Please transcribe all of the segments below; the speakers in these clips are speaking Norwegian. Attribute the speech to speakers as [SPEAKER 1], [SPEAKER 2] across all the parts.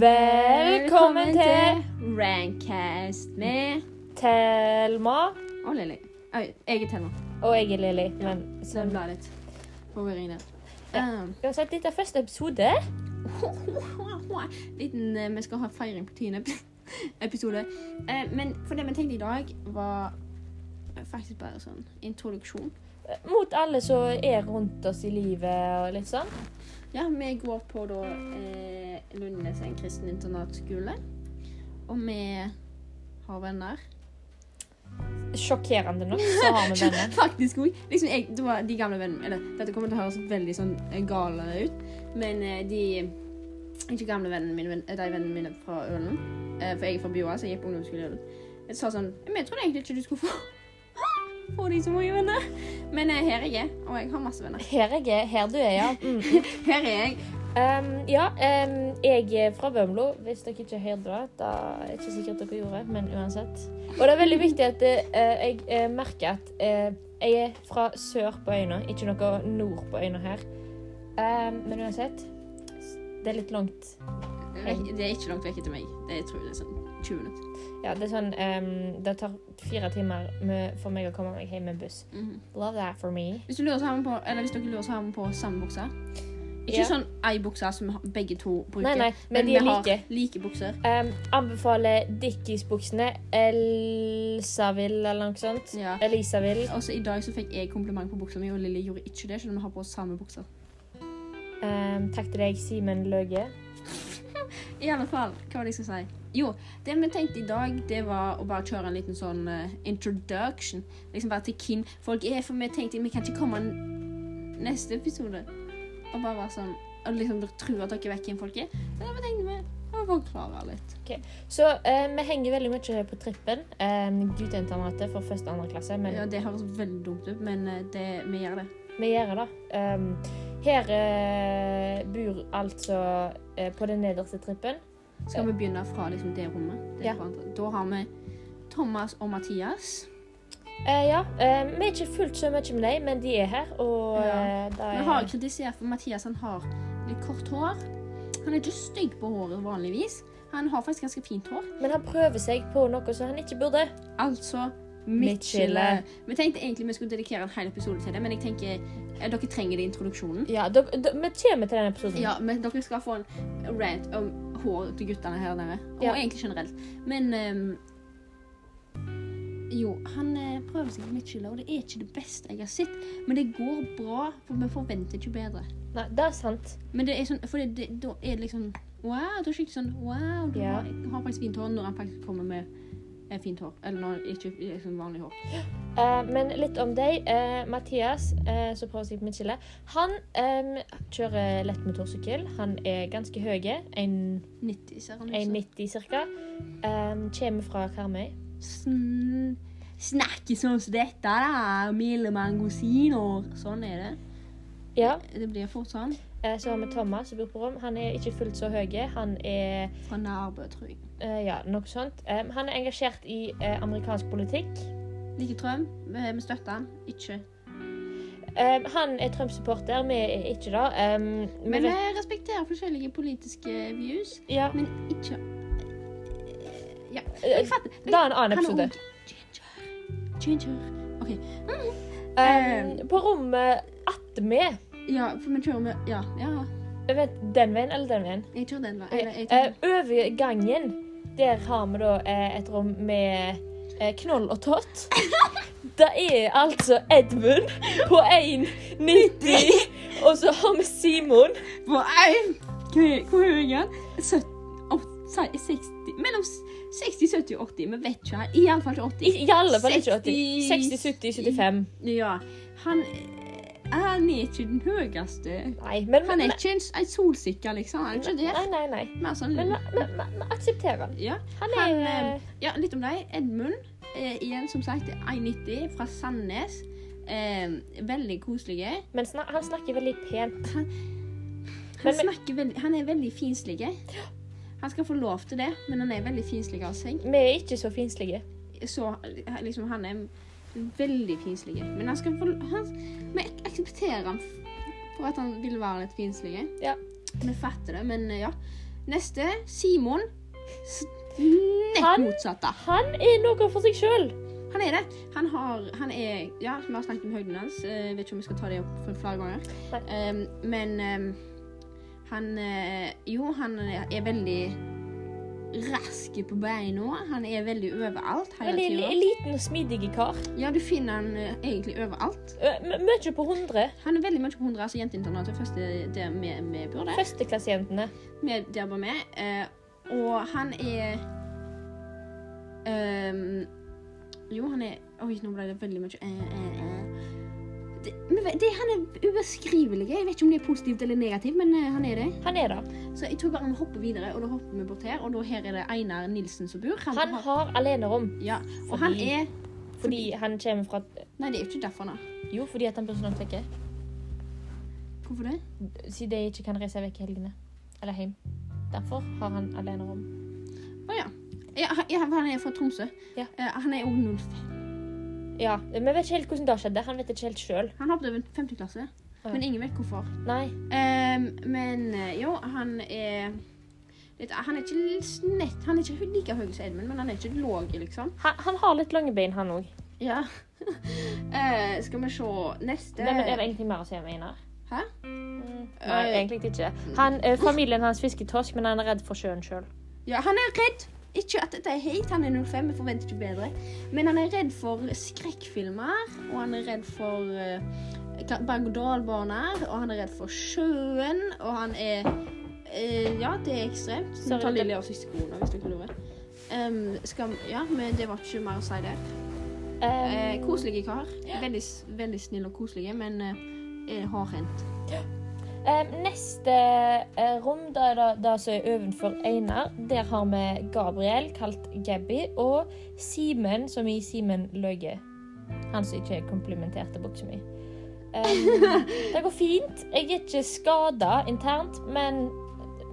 [SPEAKER 1] Velkommen til
[SPEAKER 2] Rankcast med
[SPEAKER 1] Thelma.
[SPEAKER 2] Å, Lilly. Oi, jeg er Thelma.
[SPEAKER 1] Og jeg er Lilly. Men
[SPEAKER 2] Så det blar litt forvirring der. Um,
[SPEAKER 1] uansett, dette er første episode.
[SPEAKER 2] liten, eh, vi skal ha feiring på tiende episode. Eh, men for det vi tenkte i dag, var faktisk bare sånn introduksjon.
[SPEAKER 1] Mot alle som er rundt oss i livet og litt sånn.
[SPEAKER 2] Ja, vi går på da eh, Lundnes en kristen internatskole. Og vi har venner.
[SPEAKER 1] Sjokkerende nok, så har vi venner.
[SPEAKER 2] Faktisk òg. Liksom jeg- det var de gamle vennene Eller dette kommer til å høres veldig sånn eh, gale ut, men eh, de Ikke gamle vennene mine, men eh, de vennene mine fra Ølen. Eh, For jeg er fra Bjoa, så jeg gikk på ungdomsskole i Ølen. Jeg sa sånn Men jeg trodde egentlig ikke du skulle få Få de så mange venner. Men eh, her er jeg, og jeg har masse venner.
[SPEAKER 1] Her jeg er. Her du er, ja. Mm.
[SPEAKER 2] Her er jeg.
[SPEAKER 1] Um, ja, um, jeg er fra Bømlo. Hvis dere ikke hørte det, da er det ikke sikkert dere gjorde det, men uansett. Og det er veldig viktig at eh, jeg eh, merker at eh, jeg er fra sør på øyene, ikke noe nord på øyene her. Um, men uansett, det er litt langt.
[SPEAKER 2] Det er ikke langt vekk etter meg. Det er, jeg tror det er sånn 20 minutter.
[SPEAKER 1] Ja, det er sånn um, Det tar fire timer med, for meg å komme meg hjem med buss.
[SPEAKER 2] Mhm.
[SPEAKER 1] Love that for me.
[SPEAKER 2] Hvis, du lurer, så har vi på, eller hvis dere lurer, så har vi på samme bukse. Ikke
[SPEAKER 1] Ja.
[SPEAKER 2] sånn ei bukse som vi har- begge to bruker.
[SPEAKER 1] Nei, nei, men, de er
[SPEAKER 2] vi har
[SPEAKER 1] like.
[SPEAKER 2] like bukser.
[SPEAKER 1] Um, anbefaler Dickies-buksene. Elsaville eller noe sånt.
[SPEAKER 2] Ja.
[SPEAKER 1] Elisaville.
[SPEAKER 2] Også Altså, I dag så fikk jeg kompliment på buksa mi, og Lilly gjorde ikke det. Selv om vi har på oss samme bukser.
[SPEAKER 1] Um, takk til deg, Simen Løge.
[SPEAKER 2] I alle fall, hva var det jeg skulle si? Jo, det vi tenkte i dag, det var å bare kjøre en liten sånn eh, introduction. Liksom bare til hvem folk er. For vi tenkte vi kan ikke komme n- neste episode og bare være sånn Og liksom dere tror at dere vet hvem folk er. Så da tenkte vi å forklare litt.
[SPEAKER 1] Så eh, vi henger veldig mye på trippen. Eh, Gutteinternatet for første og andre klasse, men
[SPEAKER 2] Ja, det høres veldig dumt ut, men eh, det, vi gjør det.
[SPEAKER 1] vi gjør det. Um, her eh, bor altså eh, på den nederste trippen.
[SPEAKER 2] Skal vi begynne fra liksom det rommet? Det
[SPEAKER 1] Ja.
[SPEAKER 2] hverandre. Da har vi Thomas og Mathias.
[SPEAKER 1] Eh, ja, eh, vi er ikke fullt så mye med dem, men de er her, og
[SPEAKER 2] Ja.
[SPEAKER 1] eh, da
[SPEAKER 2] Vi
[SPEAKER 1] er
[SPEAKER 2] har kritisert for Mathias han har litt kort hår. Han er ikke stygg på håret vanligvis. Han har faktisk ganske fint hår.
[SPEAKER 1] Men han prøver seg på noe som han ikke burde.
[SPEAKER 2] Altså
[SPEAKER 1] Midtskille.
[SPEAKER 2] midtskille. Vi tenkte egentlig vi skulle dedikere en hel episode til det, men jeg tenker eh, dere trenger det i introduksjonen.
[SPEAKER 1] Ja, dere- dere- Vi kommer til den episoden.
[SPEAKER 2] Ja, men dere skal få en rant om hår til guttene her nede. Og
[SPEAKER 1] Ja.
[SPEAKER 2] egentlig generelt. Men ehm, jo, han eh, prøver seg på midtskille, og det er ikke det beste jeg har sett. Men det går bra, for vi forventer ikke bedre.
[SPEAKER 1] Nei, det er sant.
[SPEAKER 2] Men det er sånn, for det, det, da er det liksom Wow, da er det skikkelig sånn Wow, du
[SPEAKER 1] Ja.
[SPEAKER 2] har, har faktisk fint hår når han faktisk kommer med eh, fint hår. Eller når han ikke er liksom vanlig hår.
[SPEAKER 1] Eh, men litt om deg. Eh, Mathias, eh, som prøver seg på midtskille, han eh, kjører lett motorsykkel. Han er ganske høy. 1,90
[SPEAKER 2] 90, ser han ut
[SPEAKER 1] ca. Um, kommer fra Karmøy.
[SPEAKER 2] som. Snakke sånn som dette, da. Milde mangosiner. Sånn er det.
[SPEAKER 1] Ja.
[SPEAKER 2] Det blir fort sånn.
[SPEAKER 1] Eh, så har vi Thomas som bor på rom. Han er ikke fullt så høy. Han er
[SPEAKER 2] Fra Nærbø, tror jeg.
[SPEAKER 1] eh, ja, noe sånt. Eh, han er engasjert i eh, amerikansk politikk.
[SPEAKER 2] Like Trøm. Vi vi støtter han. Ikke.
[SPEAKER 1] Eh, han er Trump-supporter, vi er ikke det. Eh, vi
[SPEAKER 2] Men vi
[SPEAKER 1] vet,
[SPEAKER 2] respekterer forskjellige politiske views.
[SPEAKER 1] ja,
[SPEAKER 2] Men ikke Ja.
[SPEAKER 1] eh,
[SPEAKER 2] Jeg fatter.
[SPEAKER 1] da er en annen
[SPEAKER 2] Han
[SPEAKER 1] episode.
[SPEAKER 2] er Ginger. Ginger.
[SPEAKER 1] Eh, på rommet attmed.
[SPEAKER 2] Ja, for vi kjører med Ja, ja.
[SPEAKER 1] Vent, den veien eller den veien?
[SPEAKER 2] jeg kjører den veien. Eller, jeg
[SPEAKER 1] Eh,
[SPEAKER 2] tar-
[SPEAKER 1] over gangen, der har vi da eh, et rom med eh, knoll og tott. Det er altså Edmund på 1,90, og så har vi Simon.
[SPEAKER 2] Hvor er- Hvor- hvor høy er han? 70 åt- si- 60 Mellom s- 60, 70 og 80. Vi vet ikke. her. I alle fall ikke
[SPEAKER 1] I,
[SPEAKER 2] 80.
[SPEAKER 1] i alle fall ikke 80. 60, 70,
[SPEAKER 2] 60,
[SPEAKER 1] 75.
[SPEAKER 2] Ja. Han, eh, han er ikke den høyeste.
[SPEAKER 1] Nei, men
[SPEAKER 2] Han er ikke en, en solsikker, liksom. Han er ikke det.
[SPEAKER 1] Nei, nei, nei.
[SPEAKER 2] Mer sånn
[SPEAKER 1] Men
[SPEAKER 2] liten.
[SPEAKER 1] vi- vi- vi- vi aksepterer han.
[SPEAKER 2] Ja.
[SPEAKER 1] Han er
[SPEAKER 2] Han,
[SPEAKER 1] eh,
[SPEAKER 2] ja, litt om deg. Edmund, eh, igjen som sagt, 1,90 fra Sandnes. Eh, veldig koselige.
[SPEAKER 1] Men snak, han snakker veldig pent.
[SPEAKER 2] Han,
[SPEAKER 1] Men-
[SPEAKER 2] snakker veldig, han er veldig finslig. Han skal få lov til det, men han er veldig finslig av seg.
[SPEAKER 1] Vi er ikke så finslige.
[SPEAKER 2] Så liksom, han er veldig finslig. Men han skal få han, Vi aksepterer ham for at han vil være litt finslig.
[SPEAKER 1] Ja.
[SPEAKER 2] Vi fatter det, men ja. Neste Simon. S- Nett
[SPEAKER 1] Han-
[SPEAKER 2] motsatt, da.
[SPEAKER 1] Han er noe for seg sjøl.
[SPEAKER 2] Han er det. Han har Han er Ja, vi har snakket om høyden hans. Eh, vet ikke om vi skal ta det opp for flere ganger.
[SPEAKER 1] Nei.
[SPEAKER 2] Em, men em, han eh, Jo, han er veldig rask på beina. Han er veldig overalt hele
[SPEAKER 1] Veldig
[SPEAKER 2] tida.
[SPEAKER 1] liten og smidig kar.
[SPEAKER 2] Ja, du finner han eh, egentlig overalt.
[SPEAKER 1] Ø, m- Mye på 100.
[SPEAKER 2] Han er veldig mye på 100, altså jenteinternatet er første der vi, vi bor der.
[SPEAKER 1] Førsteklassejentene.
[SPEAKER 2] Vi der bor vi. eh, og han er ehm, Jo, han er Oi, nå ble det veldig mye eh, eh, eh. Det, men vet- det, han er ubeskrivelig. Jeg vet ikke om det er positivt eller negativt, men eh, han er det.
[SPEAKER 1] Han er det.
[SPEAKER 2] Så jeg tror bare vi hopper videre, og da hopper vi bort her. Og da her er det Einar Nilsen som bor.
[SPEAKER 1] Han har alenerom
[SPEAKER 2] ja, og han
[SPEAKER 1] Fordi-
[SPEAKER 2] er
[SPEAKER 1] fordi han kommer fra
[SPEAKER 2] Nei, det er jo ikke derfor, da.
[SPEAKER 1] Jo, fordi at han blir så langt vekke.
[SPEAKER 2] Hvorfor det?
[SPEAKER 1] Siden de ikke kan reise vekk i helgene. Eller hjem. Derfor har han alenerom.
[SPEAKER 2] Å ja. Ja, han- ja. Han er fra Tromsø.
[SPEAKER 1] Ja.
[SPEAKER 2] Eh, han er òg 05.
[SPEAKER 1] Ja, Vi vet ikke helt hvordan det skjedde. Han vet ikke helt sjøl.
[SPEAKER 2] Han hoppet over 5. klasse,
[SPEAKER 1] Ja.
[SPEAKER 2] men ingen vet hvorfor.
[SPEAKER 1] Nei.
[SPEAKER 2] Ehm, men eh, jo, han er litt, Han er ikke snett, han er ikke like høy som Edmund, men han er ikke lav, liksom.
[SPEAKER 1] Han, han har litt lange bein, han òg.
[SPEAKER 2] Ja. Eh, skal vi se neste
[SPEAKER 1] Men er det egentlig mer å si om Einar?
[SPEAKER 2] Hæ?
[SPEAKER 1] Mm, Nei,
[SPEAKER 2] Eh,
[SPEAKER 1] egentlig ikke. Han, ø, familien hans fisker torsk, men han er redd for sjøen sjøl.
[SPEAKER 2] Ja, han er redd. Ikke at dette er hate, han er 05, vi forventer ikke bedre. Men han er redd for skrekkfilmer, og han er redd for eh, ka- berg-og-dal-baner, og han er redd for sjøen, og han er eh, Ja, det er ekstremt.
[SPEAKER 1] Sorry,
[SPEAKER 2] Nå tar
[SPEAKER 1] det-
[SPEAKER 2] Lilly av seg skoene, hvis dere lurer. Um, skal, ja, men det var ikke mer å si der. Eh, koselige kar. Veldig, s- veldig snille og koselige, men eh, er hardhendt.
[SPEAKER 1] Eh, neste eh, rom, da er det det som er ovenfor Einar, der har vi Gabriel, kalt Gabby, og Simen, som i Simen Løge. Han som ikke komplimenterte buksa mi. Eh, det går fint. Jeg er ikke skada internt, men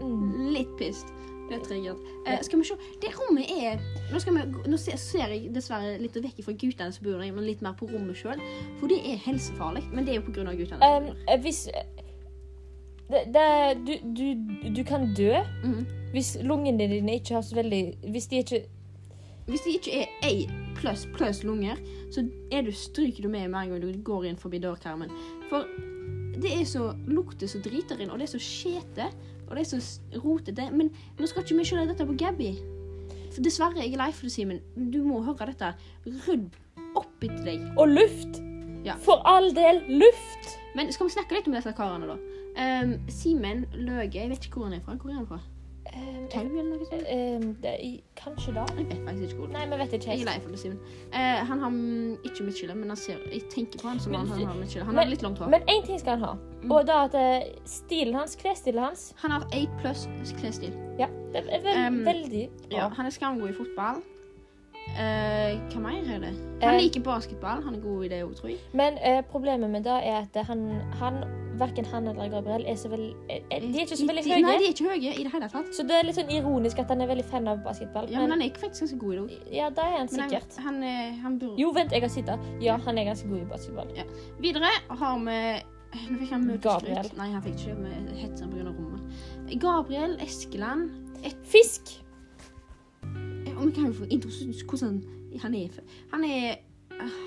[SPEAKER 1] mm,
[SPEAKER 2] Litt pissed. Ble triggert. Eh, skal vi se. Det rommet er Nå, skal vi, nå ser, ser jeg dessverre litt vekk fra guttene som bor der, men litt mer på rommet sjøl. For det er helsefarlig. Men det er jo pga. guttene. som
[SPEAKER 1] em,
[SPEAKER 2] bor der.
[SPEAKER 1] eh, Hvis det, det, du, du, du kan dø
[SPEAKER 2] Mhm.
[SPEAKER 1] hvis lungene dine ikke har så veldig Hvis de ikke
[SPEAKER 2] Hvis det ikke er ei pluss pluss lunger, så er du, stryker du med med en gang du går inn forbi dørkarmen. For det er så lukter så driter inn, og det er så skjete, og det er så s- rotete. Men nå skal ikke vi skylde dette på Gabby. For dessverre, jeg er lei for det, Simen. Du må høre dette. Rydd opp etter deg.
[SPEAKER 1] Og luft!
[SPEAKER 2] Ja.
[SPEAKER 1] For all del, luft!
[SPEAKER 2] Men skal vi snakke litt om disse karene, da? Ehm, Simen Løge, jeg vet ikke hvor han er fra. Hvor er han fra?
[SPEAKER 1] Em,
[SPEAKER 2] Tau eller noe sånt?
[SPEAKER 1] Ehm, det, i- kanskje da?
[SPEAKER 2] Jeg vet faktisk ikke hvor det
[SPEAKER 1] Nei,
[SPEAKER 2] er.
[SPEAKER 1] vi vet ikke
[SPEAKER 2] Jeg er
[SPEAKER 1] helt.
[SPEAKER 2] lei for det, Simen. Eh, han har mm, ikke midtskille, men han ser, jeg tenker på han som han, han har midtskille. Han
[SPEAKER 1] Men-
[SPEAKER 2] har litt langt hår.
[SPEAKER 1] Men én ting skal han ha,
[SPEAKER 2] Mm.
[SPEAKER 1] og det er at eh, stilen hans, klesstilen hans
[SPEAKER 2] Han har 8 pluss klesstil.
[SPEAKER 1] Ja, det er ve
[SPEAKER 2] Em,
[SPEAKER 1] veldig bra.
[SPEAKER 2] Ehm, Ja. Han er skamgod i fotball. Eh, hva mer er det? Han
[SPEAKER 1] Eh,
[SPEAKER 2] liker basketball. Han er god i det òg, tror jeg.
[SPEAKER 1] Men eh, problemet med det er at han, han Verken han eller Gabriel er så veldig Eh, De er ikke så veldig
[SPEAKER 2] De- Nei,
[SPEAKER 1] høye.
[SPEAKER 2] de er ikke høye i det hele tatt.
[SPEAKER 1] Så det er litt sånn ironisk at han er veldig fan av basketball.
[SPEAKER 2] Ja, men han er faktisk ganske god i det òg.
[SPEAKER 1] ja, det er han Eh. sikkert.
[SPEAKER 2] Han, han, er- han burde
[SPEAKER 1] Jo, vent, jeg har sett det. Ja, han er ganske god i basketball.
[SPEAKER 2] Videre har vi Nå fikk han mye
[SPEAKER 1] Gabriel.
[SPEAKER 2] skryt. Nei, han fikk ikke det sånn med hetsa pga. rommet. Gabriel Eskeland.
[SPEAKER 1] Fisk!
[SPEAKER 2] Eh, Om vi kan jo få introdusert hvordan han er fra. Han er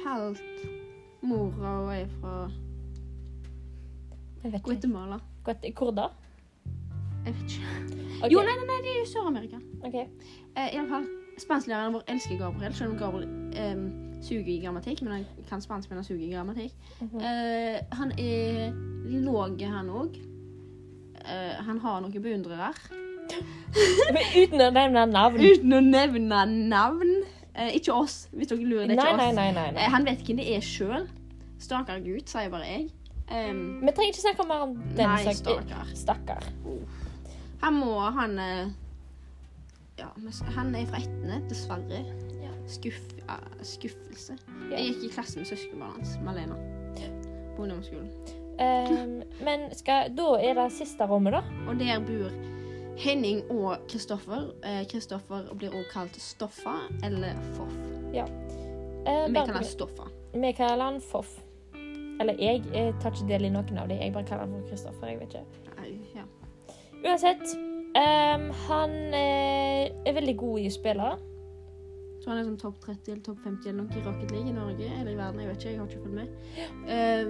[SPEAKER 2] halvt mora og er fra
[SPEAKER 1] Jeg vet ikke.
[SPEAKER 2] Guatemala.
[SPEAKER 1] Godt- Hvor da?
[SPEAKER 2] Jeg vet ikke.
[SPEAKER 1] Ok,
[SPEAKER 2] Jo, nei, nei, nei, det er jo Sør-Amerika.
[SPEAKER 1] ok.
[SPEAKER 2] Eh, i alle fall, Spansklæreren vår elsker Gabriel, selv om Gabriel eh, suger i grammatikk. Men han kan spansk, men han suger i grammatikk.
[SPEAKER 1] Mhm.
[SPEAKER 2] Eh, han er låg, han òg. Eh, han har noen beundrere.
[SPEAKER 1] Men uten å nevne navn.
[SPEAKER 2] Uten å nevne navn. Eh, ikke oss, hvis dere lurer. Det er
[SPEAKER 1] Nei,
[SPEAKER 2] ikke
[SPEAKER 1] nei,
[SPEAKER 2] oss.
[SPEAKER 1] nei. nei, nei.
[SPEAKER 2] Eh, han vet hvem det er sjøl. Stakkar gutt, sier bare jeg. Em,
[SPEAKER 1] Vi trenger ikke snakke mer om den
[SPEAKER 2] nei,
[SPEAKER 1] saken.
[SPEAKER 2] stakkar.
[SPEAKER 1] Stakkar.
[SPEAKER 2] Han må Han eh, Ja, men s- han er fra Etne, dessverre.
[SPEAKER 1] Ja.
[SPEAKER 2] Skuff, ja, skuffelse.
[SPEAKER 1] Ja.
[SPEAKER 2] Jeg gikk i klasse med søskenbarnet hans, Malena. På ungdomsskolen.
[SPEAKER 1] Ehm, men skal, da er det siste rommet, da.
[SPEAKER 2] Og der bor Henning og Kristoffer. Eh, Kristoffer blir også kalt Stoffa eller Foff.
[SPEAKER 1] Eh,
[SPEAKER 2] Vi
[SPEAKER 1] bare-
[SPEAKER 2] kaller han Stoffa.
[SPEAKER 1] vi kaller han Foff. Eller jeg, jeg tar ikke del i noen av dem. Jeg bare kaller han for Kristoffer. jeg vet ikke.
[SPEAKER 2] Nei, ja.
[SPEAKER 1] Uansett. ehm, han eh, er veldig god i å spille.
[SPEAKER 2] Tror han er sånn topp 30 eller topp 50 eller noe i Rocket League i Norge eller i verden. Jeg vet ikke, jeg har ikke fulgt med. Eh,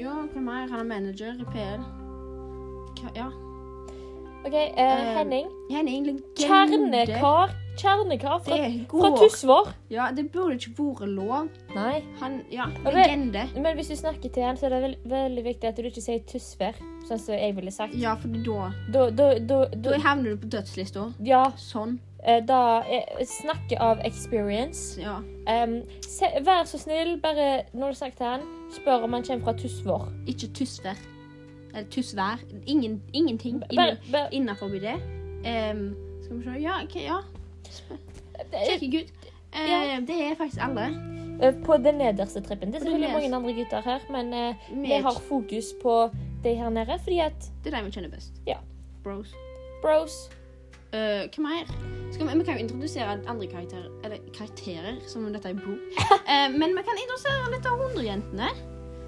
[SPEAKER 2] ja, hva mer? Han er manager i PL. Hva, ja.
[SPEAKER 1] OK, eh,
[SPEAKER 2] Ehm,
[SPEAKER 1] Henning.
[SPEAKER 2] Han er egentlig legende.
[SPEAKER 1] Kjernekar. Kjernekar fra,
[SPEAKER 2] Det
[SPEAKER 1] fra
[SPEAKER 2] går.
[SPEAKER 1] Tysvår.
[SPEAKER 2] Ja, det burde ikke vært lov.
[SPEAKER 1] Nei.
[SPEAKER 2] Han Ja,
[SPEAKER 1] det-
[SPEAKER 2] legende.
[SPEAKER 1] Men hvis du snakker til han, så er det vel, veldig viktig at du ikke sier Tysvær, sånn som jeg ville sagt.
[SPEAKER 2] Ja, for da
[SPEAKER 1] Da, da, da,
[SPEAKER 2] Da
[SPEAKER 1] da
[SPEAKER 2] havner du på dødslista.
[SPEAKER 1] Ja,
[SPEAKER 2] Sånn.
[SPEAKER 1] eh, da eh, Snakke av experience.
[SPEAKER 2] Ja.
[SPEAKER 1] Ehm, se, vær så snill, bare når du snakker til han, spør om han kommer fra Tysvår.
[SPEAKER 2] Ikke tussvær. Eller tussvær. Ingen, ingenting
[SPEAKER 1] Bare, bare,
[SPEAKER 2] innafor det. Ehm, skal vi se Ja, ok, ja.
[SPEAKER 1] eh,
[SPEAKER 2] Kirkegutt. Eh,
[SPEAKER 1] Ja.
[SPEAKER 2] Det er faktisk alle.
[SPEAKER 1] eh, på den nederste trippen. Det er
[SPEAKER 2] På den
[SPEAKER 1] selvfølgelig mange
[SPEAKER 2] nederste.
[SPEAKER 1] andre gutter her, men eh,
[SPEAKER 2] Vi
[SPEAKER 1] vi
[SPEAKER 2] er
[SPEAKER 1] har fokus på de her nede, fordi at
[SPEAKER 2] Det er de vi kjenner best.
[SPEAKER 1] Ja.
[SPEAKER 2] Bros.
[SPEAKER 1] bros
[SPEAKER 2] Eh, hva mer? Skal vi, vi kan jo introdusere andre karakterer, eller karakterer, som om dette er en bok. Eh, men vi kan introdusere litt av hundrejentene.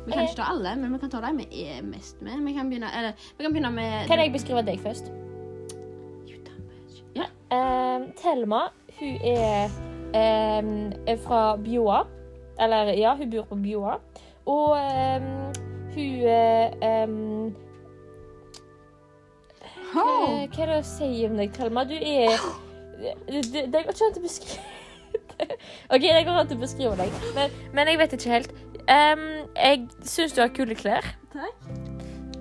[SPEAKER 2] Vi kan
[SPEAKER 1] Ok.
[SPEAKER 2] ikke ta alle, men vi kan ta de vi er mest med. Vi kan begynne, eller, vi kan begynne med
[SPEAKER 1] Kan jeg beskrive deg først?
[SPEAKER 2] You dumb bitch. Ja.
[SPEAKER 1] Ehm, Thelma, hun er ehm, er fra Bjoa. Eller ja, hun bor på Bjoa. Og ehm, hun eh, ehm, hva,
[SPEAKER 2] Ho!
[SPEAKER 1] hva er det å si om deg, Thelma? Du er Det det- det går ikke an å beskrive OK, det går an å beskrive deg, men, men jeg vet ikke helt. Ehm, jeg syns du har kule klær.
[SPEAKER 2] Takk.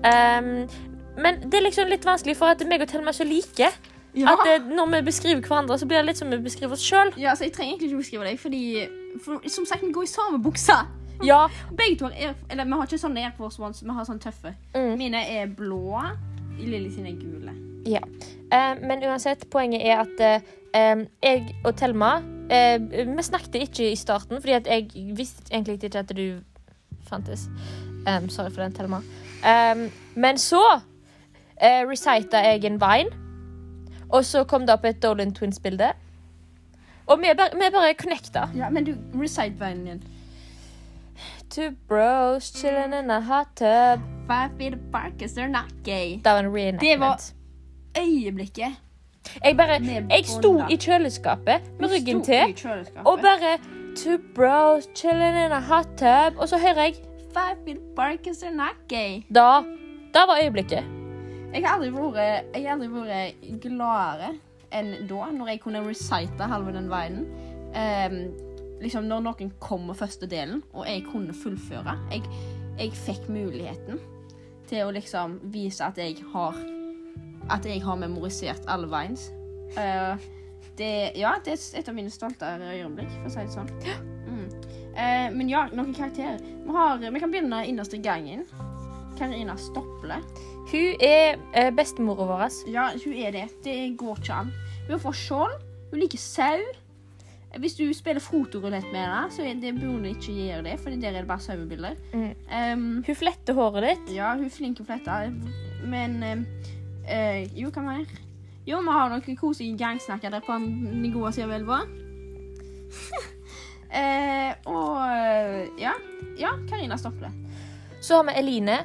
[SPEAKER 1] Ehm, men det er liksom litt vanskelig, for at meg og Thelma er så like.
[SPEAKER 2] Ja.
[SPEAKER 1] At eh, når vi beskriver hverandre, så blir det litt som vi beskriver oss sjøl.
[SPEAKER 2] ja, så jeg trenger egentlig ikke beskrive deg, fordi for, Som sagt, vi går i samme buksa.
[SPEAKER 1] Ja.
[SPEAKER 2] Begge to har Air, eller, vi har ikke sånne Air Force Ones, vi har sånne tøffe.
[SPEAKER 1] Mm.
[SPEAKER 2] Mine er blå. Lilly sine er gule.
[SPEAKER 1] ja. Eh, men uansett, poenget er at eh, em, jeg og Thelma eh, Vi snakket ikke i starten, fordi at jeg visste egentlig ikke at du fantes. Em, sorry for den, Thelma. Em, men så uh, recita jeg en vine, og så kom det opp et Dolan Twins-bilde. Og vi bare, vi bare connecta.
[SPEAKER 2] Ja, men du, recite-veien din.
[SPEAKER 1] Two bros chilling in a hot tub.
[SPEAKER 2] Five feet apart, 'cause they're not gay.
[SPEAKER 1] Det var en reenactment.
[SPEAKER 2] Det var- Øyeblikket
[SPEAKER 1] Jeg bare,
[SPEAKER 2] Med
[SPEAKER 1] jeg sto
[SPEAKER 2] bånda.
[SPEAKER 1] i kjøleskapet med ryggen til og
[SPEAKER 2] Og bare
[SPEAKER 1] bare Two bros chilling in a hot tub. Og så hører jeg
[SPEAKER 2] Five feet apart, 'cause they're not gay.
[SPEAKER 1] Da. Da var øyeblikket.
[SPEAKER 2] Jeg har aldri vært, jeg har aldri vært gladere enn da, når jeg kunne recite halve den veien. Ehm, liksom når noen kom med første delen, og jeg kunne fullføre. Jeg, jeg fikk muligheten til å liksom vise at jeg har At jeg har memorisert alle veins. Eh, det, ja, det er et av mine stoltere øyeblikk, for å si det sånn. Mm. Eh, men ja, noen karakterer. Vi, har, vi kan begynne innerst i gangen. Karina Stople.
[SPEAKER 1] Hun er eh, bestemora vår.
[SPEAKER 2] Ja, hun er det. Det går ikke an. Hun får skjold. Hun liker sau. Hvis du spiller fotorulett med henne, så er det burde du ikke gjøre det, for der er det bare sauebilder.
[SPEAKER 1] Mm.
[SPEAKER 2] Ehm,
[SPEAKER 1] Hun fletter håret ditt.
[SPEAKER 2] ja, hun er flink til å flette, men ehm, eh, Jo, hva mer? Jo, vi har noen koselige gangsnakker der på en nivå som er veldig bra. Eh, og eh, ja. Ja, Karina Stople.
[SPEAKER 1] Så har vi Eline.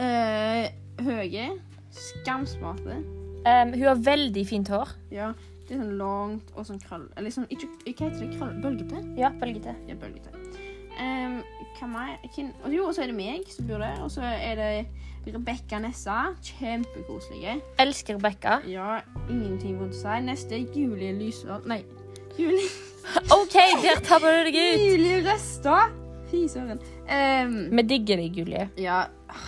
[SPEAKER 2] Uh, høye. Skamsmarte.
[SPEAKER 1] Em, hun har veldig fint hår.
[SPEAKER 2] Ja, det er sånn langt og sånn krøll... Eller sånn, ikke, hva heter det? Krøll? Bølgete?
[SPEAKER 1] Ja, bølgete.
[SPEAKER 2] Ja, bølgete. Ehm, hva mer? Hvem- og jo, og så er det meg som bor der, og så er det Rebekka Nessa. Kjempekoselige.
[SPEAKER 1] Elsker Rebekka.
[SPEAKER 2] Ja, ingenting vondt å si. Neste er Julie Lysvold. Nei, Julie,
[SPEAKER 1] OK, der tabber du deg ut.
[SPEAKER 2] Julie Røstad. Fy søren. Ehm,
[SPEAKER 1] Vi digger deg, Julie.
[SPEAKER 2] ja,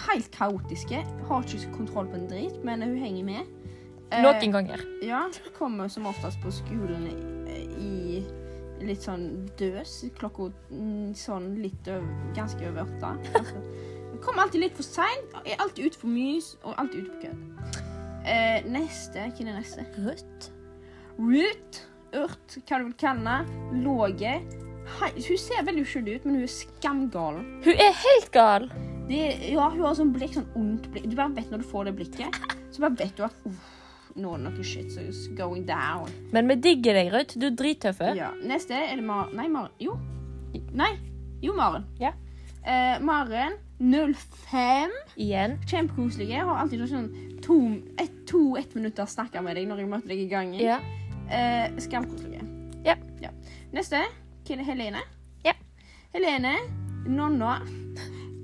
[SPEAKER 2] helt kaotiske. Har ikke kontroll på en drit, men hun henger med. Eh,
[SPEAKER 1] Noen ganger.
[SPEAKER 2] Ja, kommer som oftest på skolen i, i litt sånn døs. Klokka mm, sånn litt over, ganske over åtte. Altså, Kommer alltid litt for seint, er alltid ute for mys og alltid ute på kødd. Eh, neste Hvem er neste?
[SPEAKER 1] Rødt.
[SPEAKER 2] Ruth. Urt, hva du vil kalle henne. Låge. Hei- Hun ser veldig uskyldig ut, men hun er skamgal.
[SPEAKER 1] Hun er helt gal.
[SPEAKER 2] Det, ja, hun har sånn blikk, sånn ondt blikk. Du bare vet når du får det blikket, så bare vet du at uff, nå er det noe shit som is going down.
[SPEAKER 1] Men vi digger deg, Ruth. Du er drittøff.
[SPEAKER 2] Ja. Neste er det Maren Nei, Maren. Jo. Nei. Jo, Maren.
[SPEAKER 1] Ja.
[SPEAKER 2] Eh, Maren 05.
[SPEAKER 1] Igjen.
[SPEAKER 2] Kjempekoselige. Har alltid noe sånn tom, et, to ett minutter snakke med deg når jeg møter deg i gangen.
[SPEAKER 1] Ja.
[SPEAKER 2] Eh, Skamkoselige.
[SPEAKER 1] Ja.
[SPEAKER 2] Neste. Hvem er Helene?
[SPEAKER 1] Ja.
[SPEAKER 2] Helene, nonna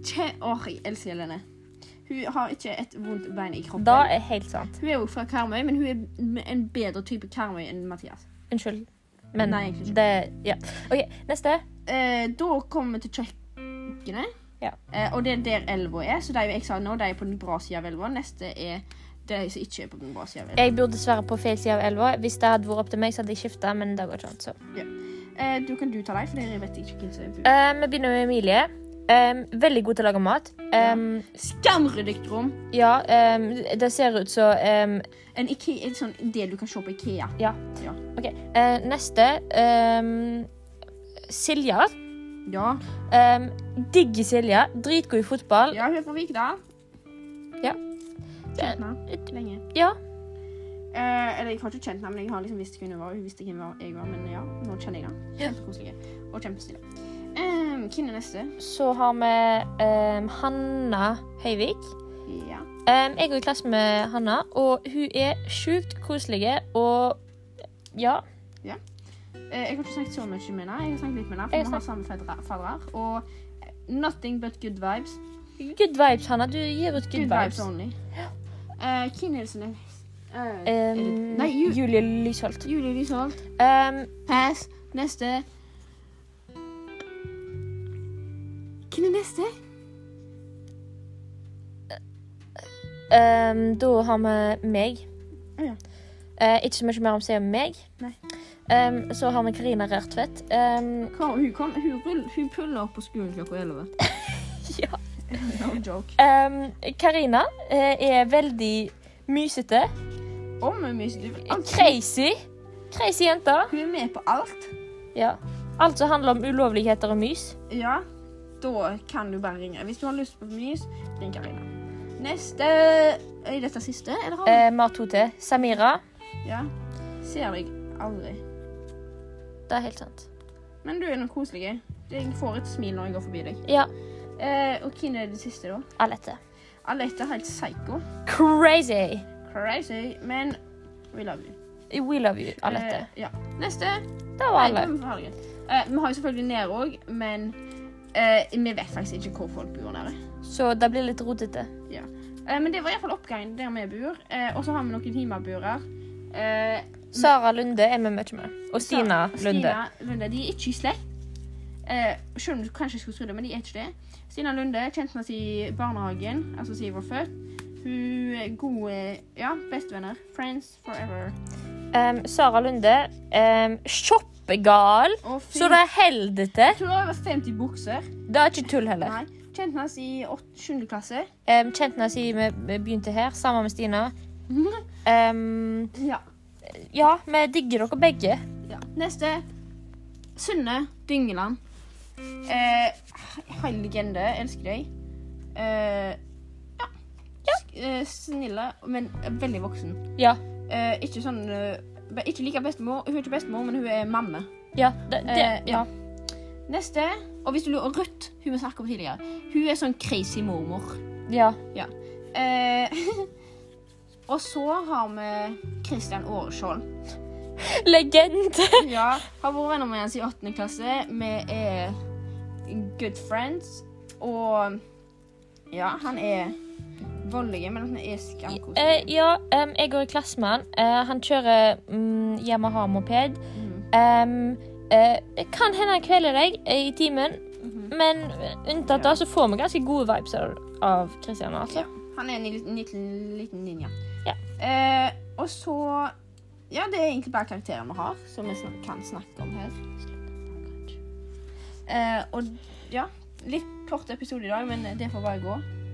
[SPEAKER 2] Kje, Åh, jeg elsker Helene. Hun har ikke et vondt bein i kroppen.
[SPEAKER 1] Da er helt sant.
[SPEAKER 2] Hun er jo fra Karmøy, men hun er en bedre type Karmøy enn Mathias.
[SPEAKER 1] Unnskyld. Men
[SPEAKER 2] Nei, egentlig ikke.
[SPEAKER 1] det Ja. OK, neste.
[SPEAKER 2] Eh, da kommer vi til kjøkkenet.
[SPEAKER 1] Ja.
[SPEAKER 2] Eh, og det er der elva er, så de jeg sa nå, de er på den bra sida av elva. Neste er de som ikke er på den bra sida av elva.
[SPEAKER 1] Jeg bor dessverre på feil side av elva. Hvis det hadde vært opp til meg, så hadde jeg skifta, men det går ikke an. så.
[SPEAKER 2] Eh, du kan du ta deg, for jeg vet ikke hvem som er på.
[SPEAKER 1] Eh, vi begynner med Emilie. Eh, veldig god til å lage mat. Eh,
[SPEAKER 2] Skamryddig rom!
[SPEAKER 1] ja, eh, det ser ut som eh,
[SPEAKER 2] En Ikea, en sånn del du kan se på Ikea.
[SPEAKER 1] Ja.
[SPEAKER 2] Ja.
[SPEAKER 1] OK. Eh, neste. eh, Silja.
[SPEAKER 2] Ja,
[SPEAKER 1] Um, Digger Silja. Dritgod i fotball.
[SPEAKER 2] ja hun er fra Vikdal.
[SPEAKER 1] Ja.
[SPEAKER 2] Kjent henne lenge.
[SPEAKER 1] Ja.
[SPEAKER 2] Eh, eller jeg har ikke kjent henne, men jeg har liksom visst hvem hun var. Hun visste hvem jeg var, men ja, nå kjenner jeg henne.
[SPEAKER 1] Ja.
[SPEAKER 2] Kjempekoselig. Og kjempestille. Eh, hvem er neste?
[SPEAKER 1] Så har vi ehm, Hanna Høyvik.
[SPEAKER 2] Ja.
[SPEAKER 1] Ehm, jeg går i klasse med Hanna, og hun er sjukt koselig og Ja.
[SPEAKER 2] Eh, jeg har ikke snakket så mye med henne. Jeg har snakket litt med henne,
[SPEAKER 1] Jeg
[SPEAKER 2] for vi har samme fedre- fadrer. Og eh, nothing but good vibes.
[SPEAKER 1] Good vibes, Hanna. Du gir ut good,
[SPEAKER 2] Good,
[SPEAKER 1] vibes.
[SPEAKER 2] vibes. only. Eh, hvem er det som er Eh, er det-
[SPEAKER 1] Ehm,
[SPEAKER 2] Nei, Ju-
[SPEAKER 1] Julie Lysholt.
[SPEAKER 2] Julie Lysholt.
[SPEAKER 1] Ehm,
[SPEAKER 2] Pass. Neste. Hvem er neste?
[SPEAKER 1] ehm, da har vi meg.
[SPEAKER 2] Å ja.
[SPEAKER 1] Eh, ikke så mye mer om seg om meg.
[SPEAKER 2] Nei.
[SPEAKER 1] Ehm, så har vi Karina Rørtvedt. Ehm,
[SPEAKER 2] Kom, hun, kom, hun, rull- hun puller opp på skolen klokka 11.
[SPEAKER 1] ja.
[SPEAKER 2] No joke.
[SPEAKER 1] Ehm, Karina eh, er veldig mysete.
[SPEAKER 2] Om hun mister du vil alt.
[SPEAKER 1] Crazy. Crazy jente.
[SPEAKER 2] Hun er med på alt.
[SPEAKER 1] Ja. Alt som handler om ulovligheter og mys.
[SPEAKER 2] Ja, da kan du bare ringe. Hvis du har lyst på mys, ring Karina. Neste Er dette siste, eller har vi
[SPEAKER 1] Eh, vi har to til. Samira.
[SPEAKER 2] Ja. Ser deg aldri.
[SPEAKER 1] Det er helt sant.
[SPEAKER 2] Men du er noe koselig. Jeg får et smil når jeg går forbi deg.
[SPEAKER 1] Ja.
[SPEAKER 2] Eh, og hvem er det siste, da?
[SPEAKER 1] Alette.
[SPEAKER 2] Alette er helt psycho.
[SPEAKER 1] Crazy.
[SPEAKER 2] Crazy. Men we love you.
[SPEAKER 1] We love you, Alette.
[SPEAKER 2] Eh, ja. Neste.
[SPEAKER 1] Det var
[SPEAKER 2] Nei,
[SPEAKER 1] alle.
[SPEAKER 2] da er vi ferdige. Eh, vi har jo selvfølgelig nede òg, men eh, vi vet faktisk ikke hvor folk bor nede.
[SPEAKER 1] Så det blir litt rotete.
[SPEAKER 2] Eh, men det var iallfall oppgangen der vi bor. Eh, og så har vi noen himaburer. Eh,
[SPEAKER 1] Sara Lunde er vi mye med. Og Stina
[SPEAKER 2] Sa-
[SPEAKER 1] Lunde.
[SPEAKER 2] Stina Lunde. De er ikke i slekt. Eh, selv om du kanskje skulle tro det, men de er ikke det. Stina Lunde kjente med oss i barnehagen, altså siden jeg var født. Hun er gode ja, bestevenner. Friends forever.
[SPEAKER 1] Em, Sara Lunde. Um, shoppegal.
[SPEAKER 2] Og
[SPEAKER 1] Så det holder til.
[SPEAKER 2] Jeg tror det var 50 bukser.
[SPEAKER 1] Det er ikke tull heller.
[SPEAKER 2] Nei. Kjente med oss i 7. klasse.
[SPEAKER 1] Um, Kjente henne siden vi- vi begynte her, sammen med Stina. Em,
[SPEAKER 2] ja.
[SPEAKER 1] ja, vi digger dere begge.
[SPEAKER 2] ja. Neste. Sunne Dyngeland. Eh, Hele legende. Elsker deg. Eh, ja. Sk- Eh, snille, men veldig voksen.
[SPEAKER 1] Ja.
[SPEAKER 2] Eh, ikke sånn eh, be- Ikke like bestemor. Hun er ikke bestemor, men hun er mamme.
[SPEAKER 1] Ja. Det,
[SPEAKER 2] Eh,
[SPEAKER 1] det, ja.
[SPEAKER 2] Neste. Og hvis du lurer Ruth, hun vi snakket om tidligere, hun er sånn crazy mormor.
[SPEAKER 1] ja.
[SPEAKER 2] Eh, og så har vi Christian Åreskjold.
[SPEAKER 1] Legende.
[SPEAKER 2] Ja, har vært venner med henne i 8. klasse. Vi er good friends. Og ja, han er voldelig, men han er
[SPEAKER 1] Eh,
[SPEAKER 2] skamkoselig.
[SPEAKER 1] ja, em, jeg går i klasse med han. Eh, han kjører mm, Yamaha-moped.
[SPEAKER 2] Mhm.
[SPEAKER 1] Em, eh, kan hende han kveler deg eh, i timen,
[SPEAKER 2] Mhm.
[SPEAKER 1] men unntatt det så får vi ganske gode vibes av, av Christian. Altså.
[SPEAKER 2] Ja. Han er en liten, liten, liten ninja.
[SPEAKER 1] Ja.
[SPEAKER 2] Eh, og så Ja, det er egentlig bare karakteren vi har, som vi snak kan snakke om her. Eh, og ja Litt kort episode i dag, men det får bare gå.